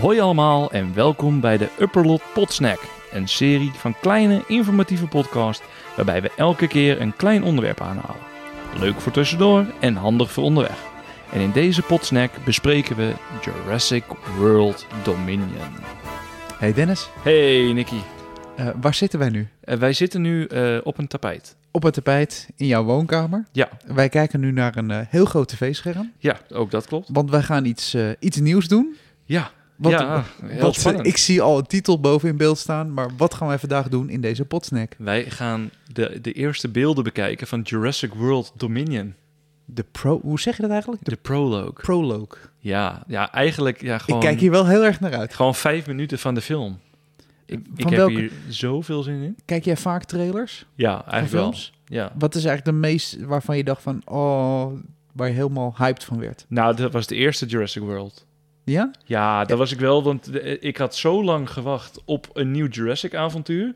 Hoi allemaal en welkom bij de Upperlot Potsnack. Een serie van kleine informatieve podcasts waarbij we elke keer een klein onderwerp aanhalen. Leuk voor tussendoor en handig voor onderweg. En in deze Potsnack bespreken we Jurassic World Dominion. Hey Dennis, Hey Nicky, eh, waar zitten wij nu? Eh, wij zitten nu eh, op een tapijt. Op het tapijt in jouw woonkamer. Ja. Wij kijken nu naar een eh, heel groot tv-scherm, Ja, ook dat klopt. want wij gaan iets, eh, iets nieuws doen. Ja, Wat, ja heel wat, eh, spannend. ik zie al een titel boven in beeld staan, maar wat gaan wij vandaag doen in deze potsnack? Wij gaan de, de eerste beelden bekijken van Jurassic World Dominion. De pro... Hoe zeg je dat eigenlijk? De De prologue. prologue. Ja, ja eigenlijk ja, gewoon... Ik kijk hier wel heel erg naar uit. Gewoon vijf minuten van de film. Ik, ik Eh, Van heb welke- hier zoveel zin in. Kijk jij vaak trailers Ja, van eigenlijk wel. films? Ja. Wat is eigenlijk de meest waarvan je dacht van, oh, waar je helemaal hyped van werd? Nou, dat was de eerste Jurassic World. Ja? Ja, dat was ik wel, want de- ik had zo lang gewacht op een nieuw Jurassic avontuur.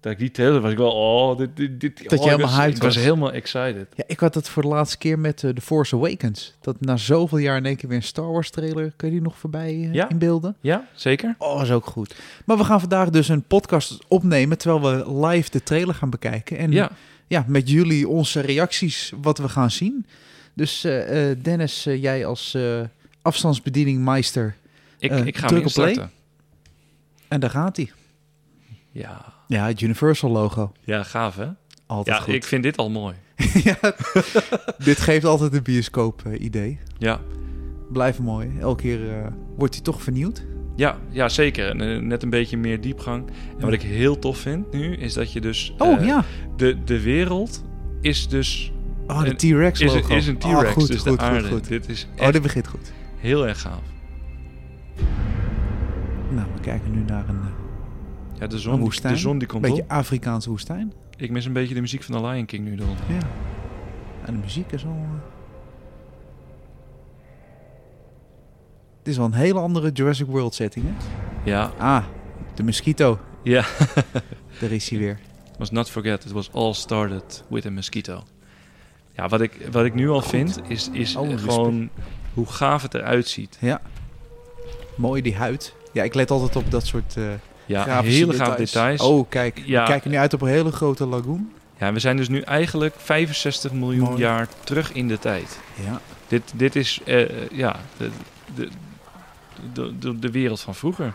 Dat ik die trailer was ik wel, oh, dit, dit, dit- Dat je oh, ik helemaal was, hyped ik was. was. helemaal excited. Ja, ik had het voor de laatste keer met eh, The Force Awakens. Dat na zoveel jaar in één keer weer een Star Wars trailer. Kun je die nog voorbij eh, Ja. inbeelden? Ja, zeker? Oh, is ook goed. Maar we gaan vandaag dus een podcast opnemen terwijl we live de trailer gaan bekijken. En Ja. ja, met jullie onze reacties wat we gaan zien. Dus eh, eh, Dennis, eh, jij als eh afstandsbedieningmeister. Ik, Eh, ik ga hem druk op play. instarten. En daar gaat hij. Ja. Ja, het Universal logo. ja, gaaf hè? Altijd Ja, goed. ik vind dit al mooi. ja, dit geeft altijd een bioscoop eh, idee. Ja, Blijf mooi. Elke keer eh, wordt hij toch vernieuwd. ja, ja zeker. En, eh, Net een beetje meer diepgang. En wat ik heel tof vind nu, is dat je dus... Oh eh, ja. De, de wereld is dus Oh, de Een- T-Rex is, logo. een- is een Oh, T-Rex, goed, dus goed, de goed, aarde. goed. Dit is Oh, echt dit begint goed. heel erg gaaf. Nou, we kijken nu naar een eh, Ja, de Een zon, die, woestijn. de zon die komt beetje op. Afrikaanse woestijn. Ik mis een beetje de muziek van de Lion King nu dan. Ja. En de muziek is al... eh. Het is wel een hele andere Jurassic World setting, hè? Ja, Ah, de mosquito. ja. Daar is hij weer. Was not forget, it was all started with a mosquito. Ja, wat ik, wat ik nu al vind, is, is eh, Oh, respect. gewoon hoe gaaf het eruit ziet. Ja. Mooi, die huid. Ja, ik let altijd op dat soort eh Ja, grafische hele gaaf details. Oh, kijk. Ja. We kijken nu uit op een hele grote lagoon. Ja, we zijn dus nu eigenlijk 65 miljoen Mooi. jaar terug in de tijd. Ja. Dit, dit is, eh, eh, ja, de, de, de, de, de wereld van vroeger.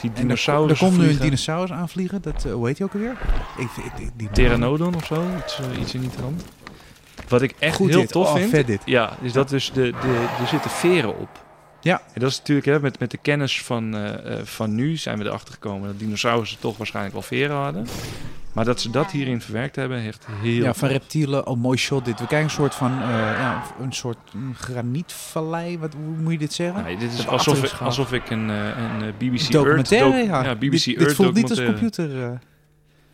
Die En er, dinosaurus. er komt nu een dinosaurus aanvliegen. Dat, eh, hoe heet hij ook alweer? Ik, ik, ik- die Pteranodon of zo, iets, eh, iets in die trant. Wat ik echt Goed heel dit. tof oh, vind, Vet dit. ja, is dat dus de, de, er zitten veren op. Ja. En dat is natuurlijk, hè, met, met de kennis van, eh, eh, van nu zijn we erachter gekomen dat dinosaurussen toch waarschijnlijk wel veren hadden. Maar dat ze dat hierin verwerkt hebben, echt heel... Ja, van reptielen. Oh, mooi shot dit. We kijken een soort van, eh, ja, een soort mm, granietvallei. Wat, hoe moet je dit zeggen? Nee, dit is Dat alsof ik, achtergeschaven. alsof ik een, eh, een eh, BBC documentaire, Earth... doc- ja. ja, BBC dit, Earth dit voelt niet als documentaire. computer. eh.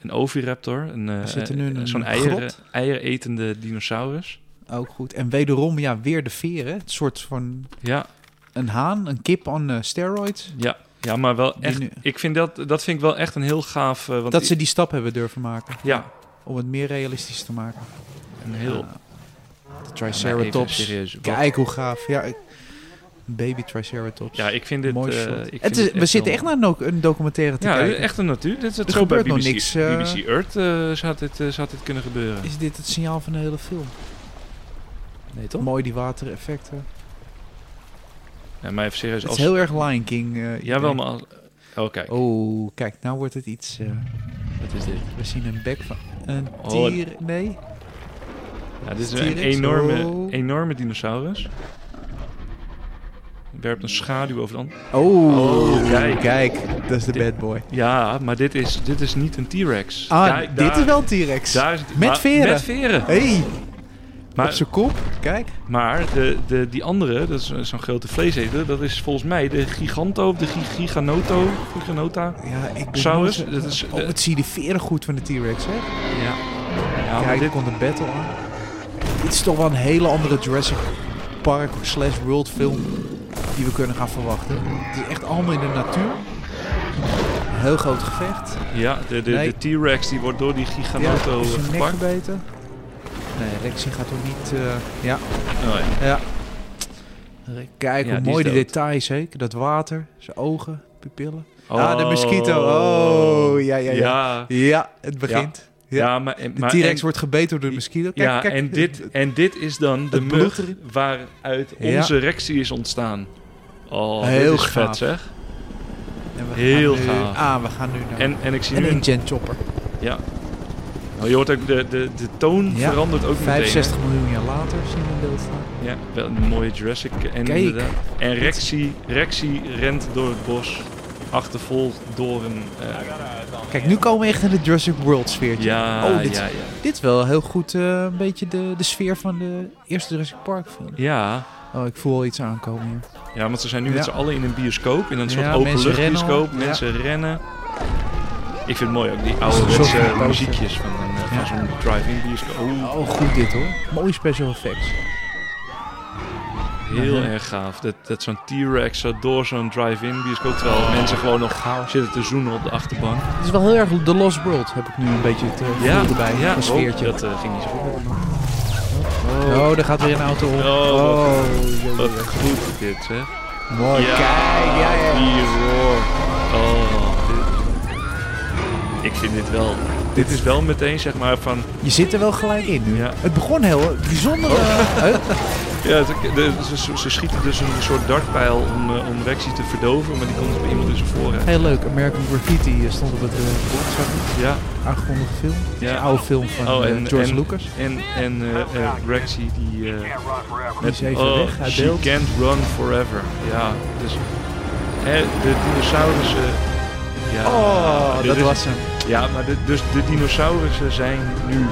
Een oviraptor, een, eh, We zitten nu in eh, een zo'n eieren, grot. eieretende dinosaurus. eh, ook goed. En wederom, ja, weer de veren. Het soort van Ja, een haan, een kip aan eh, steroids. ja, ja maar wel Die echt... nu- Ik vind dat, dat vind ik wel echt een heel gaaf... eh, want Dat ze die stap hebben durven maken. Ja, Om het meer realistisch te maken. een heel... Ja. de Triceratops. Even serieus, wat- Kijk hoe gaaf. Ja, ik- een baby Triceratops. Ja, ik vind dit... Mooi eh, shot. ik vind Het is- dit we zitten heel echt naar een, doc- een documentaire te mooi. Ja, dit kijken. is echt een natuur. Dit is het Er zo bij gebeurt BBC, nog niks, eh. BBC Earth eh, zou, dit, eh, zou dit kunnen gebeuren. Is dit het signaal van de hele film? Nee, toch? Mooi die watereffecten. Ja, maar even serieus. Het is Als, heel erg Lion King. eh, Jawel, idee. maar... als- Oh, kijk. Oh, kijk, nou wordt het iets. eh, Wat is dit? we zien een bek van een Oh, tier. Nee. Ja, dit is T-Rex. een enorme, Oh. enorme dinosaurus. Werpt een schaduw over de ander. Oh, Oh, kijk. kijk. dat is de Dit- bad boy. Ja, maar dit is, dit is niet een T-Rex. Ah, Kijk, dit daar- is wel een T-Rex. daar is het- Met maar- veren. Met veren. hey, op Maar, zijn kop. Kijk. maar de, de, die andere, dat is zo'n grote vleeseter, dat is volgens mij de Giganto, of de gi- Giganoto, Giganota. Ja, ik ben Saurus, nooit zo- dat is- eh, Oh, het zie je die veren goed van de T-Rex, hè? Ja. Ja, maar Kijk, dit, dit kon de battle aan. Dit is toch wel een hele andere Jurassic Park slash World film die we kunnen gaan verwachten. Het is echt allemaal in de natuur. Een heel groot gevecht. ja, de, de, Nee. de T-Rex die wordt door die Giganoto is eh, zijn nek gepakt. Oh, gebeten. Nee, Rexy gaat toch niet... eh, ja, Nee. ja. Kijk Ja, hoe die mooi is die dood. details, hè? Dat water, zijn ogen, pupillen. Oh. Ah, de mosquito. Oh, ja, ja, ja. Ja, Ja, het begint. ja, Ja. maar... De maar T-Rex en- wordt gebeten door de mosquito. Kijk, ja, kijk. en dit, en dit is dan de het bloed mug erin. waaruit Ja. onze rectie is ontstaan. Oh, Heel dit is vet gaaf. zeg. En we heel gaan nu, gaaf. Ah, we gaan nu naar... En, en ik zie en nu... oh, een Gen Chopper. je hoort ook, de, de, de toon Ja. verandert ook meteen. 65 miljoen jaar later zien we in beeld staan. hè? Ja, wel een mooie Jurassic. En, Kijk. inderdaad. en Rexy, Rexy rent door het bos, achtervolgd door een... eh, Kijk, nu komen we echt in de Jurassic World sfeertje. ja, Oh, dit- ja, ja. Dit is wel heel goed eh, een beetje de, de sfeer van de eerste Jurassic Park film. Ja, Oh, ik voel al iets aankomen hier. ja, want ze zijn nu Ja. met z'n allen in een bioscoop, in een soort Ja, mensen rennen al. openluchtbioscoop. Ja. Mensen rennen. Ik vind het mooi ook, die Zo'n ouderwetse groot muziekjes van, een, eh, van Ja. zo'n drive-in bioscoop. Oh, Oh, goed dit hoor. Mooie special effects. heel Ja. erg gaaf. Dat, dat zo'n T-Rex zo door zo'n drive-in bioscoop, terwijl mensen gewoon nog zitten te zoenen op de achterbank. Het is wel heel erg The Lost World, heb ik nu een beetje het eh, gevoel erbij. ja. een sfeertje. Oh, dat eh, ging niet zo goed. Oh, daar gaat weer een auto om. Oh, jee, Wat jee. goed dit, zeg. Mooi, kijk. Ja, ja. Die roar. Oh, dit. Ik vind dit wel... Dit is wel meteen, zeg maar, van... Je zit er wel gelijk in nu. Ja. Oh. Het begon heel eh, bijzonder. eh, Ja, ze- de- ze, ze- ze schieten dus een soort dartpijl om, eh, om Rexy te verdoven, maar die komt bij iemand dus in zijn vooruit. Heel leuk. American Graffiti eh, stond op het eh, bord, zag ik. Ja, Aangekondigde film. Het is Ja. Een oude film van Oh, eh, en- George en- Lucas. en, en eh, eh, Rexy die... eh, Die is even oh, weg uit she beeld. can't run forever. Ja, dus... Hè, de dinosaurussen... Ja, Oh, dit dat is- was hem. Ja, maar de, dus de dinosaurussen zijn nu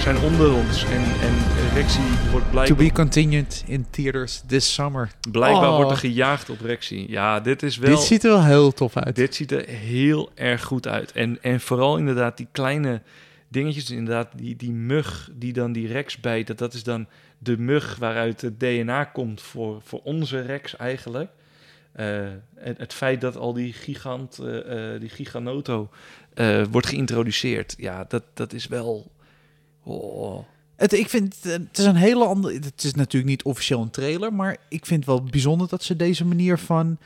zijn onder ons en, en Rexy wordt To blijkbaar, be continued in theaters this summer. blijkbaar Oh. wordt er gejaagd op Rexy. Ja, dit is wel... Dit ziet er wel heel tof uit. Dit ziet er heel erg goed uit. En, en vooral inderdaad die kleine dingetjes. Inderdaad, die, die mug die dan die rex bijt. Dat, dat is dan de mug waaruit het DNA komt voor, voor onze rex eigenlijk. Eh, het, het feit dat al die gigant, eh, eh, die giganoto eh, wordt geïntroduceerd. Ja, dat, dat is wel... Oh. Het, ik vind, het- het is een hele andere... Het is natuurlijk niet officieel een trailer, maar ik vind het wel bijzonder dat ze deze manier van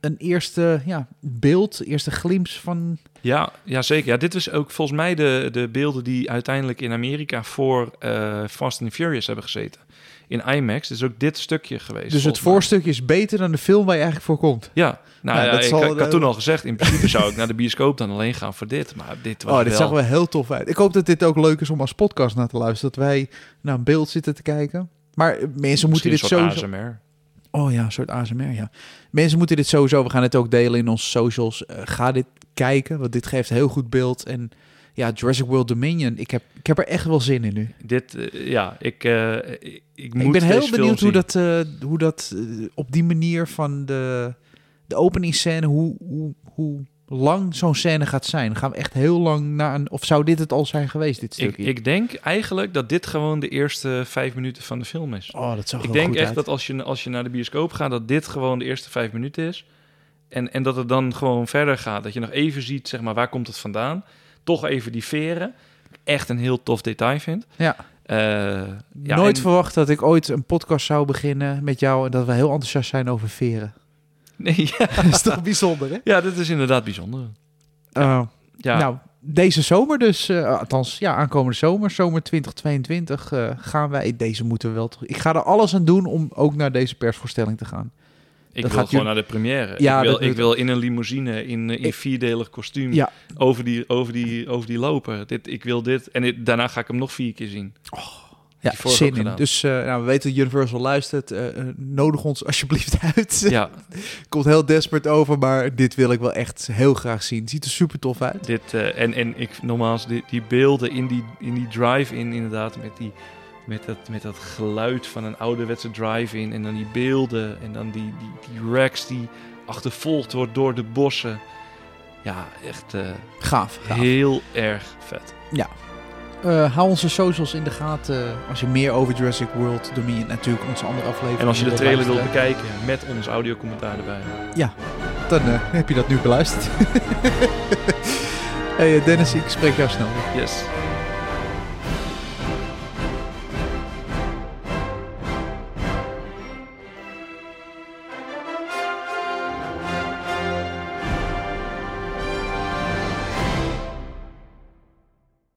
een eerste ja, beeld, eerste glimps van... Ja, ja, zeker. Ja, dit was ook volgens mij de, de beelden die uiteindelijk in Amerika voor eh, Fast and Furious hebben gezeten. In IMAX. Dus ook dit stukje geweest. Dus het volgens mij. voorstukje is beter dan de film waar je eigenlijk voor komt. Ja, nou Ja, ja, dat ik, zal- eh, ik had toen al gezegd, in principe zou ik naar de bioscoop dan alleen gaan voor dit. Maar dit was Oh, dit wel... zag wel heel tof uit. Ik hoop dat dit ook leuk is om als podcast naar te luisteren. Dat wij naar een beeld zitten te kijken. Maar eh, mensen Misschien moeten dit een soort sowieso... ASMR. Oh ja, een soort ASMR, ja. Mensen moeten dit sowieso... We gaan het ook delen in onze socials. Eh, ga dit kijken, want dit geeft heel goed beeld. En ja, Jurassic World Dominion. Ik heb, ik heb er echt wel zin in nu. Dit, eh, ja, ik, eh, ik, ik moet ik ben deze heel film benieuwd zien. hoe dat, eh, hoe dat eh, op die manier van de, de openingsscène... Hoe, hoe, hoe lang zo'n scène gaat zijn. Gaan we echt heel lang naar... Een, of zou dit het al zijn geweest, dit Ik, stukje? ik denk eigenlijk dat dit gewoon de eerste vijf minuten van de film is. Oh, dat zag er Ik wel denk goed echt uit. dat als je, als je naar de bioscoop gaat, dat dit gewoon de eerste vijf minuten is. En, en dat het dan gewoon verder gaat. Dat je nog even ziet, zeg maar, waar komt het vandaan? Toch even die veren. Echt een heel tof detail vind. Ja. Eh, ja, Nooit en- verwacht dat ik ooit een podcast zou beginnen met jou... en dat we heel enthousiast zijn over veren. Nee, ja. dat is toch bijzonder, hè? ja, dit is inderdaad bijzonder. Eh, Ja, Nou, deze zomer dus, eh, althans, ja, aankomende zomer, zomer 2022, eh, gaan wij... Deze moeten we wel... terug- Ik ga er alles aan doen om ook naar deze persvoorstelling te gaan. ik wil dat gewoon gaat jullie- naar de première. Ja, ik, wil, dat- ik wil in een limousine, in, eh, in Ik- vierdelig kostuum, Ja. over, die, over, die, over die lopen. Dit, ik wil dit. En dit- daarna ga ik hem nog vier keer zien. Ja, Die vorige ook zin in. gedaan. Dus eh, nou, we weten dat Universal luistert. eh, eh, nodig ons alsjeblieft uit. Ja, Komt heel desperate over, maar dit wil ik wel echt heel graag zien. Het ziet er super tof uit. Dit, eh, en, en ik, nogmaals, die, die beelden in die, in die drive-in inderdaad, met, die, met, dat, met dat geluid van een ouderwetse drive-in en dan die beelden en dan die, die, die Rex die achtervolgd wordt door de bossen. Ja, echt eh, Gaaf, gaaf. heel erg vet. Eh, hou onze socials in de gaten als je meer over Jurassic World Dominion natuurlijk onze andere aflevering. En als je de trailer wilt luisteren. bekijken met ons audiocommentaar erbij. dan eh, heb je dat nu beluisterd. hey, eh, Dennis, ik spreek jou snel. Yes.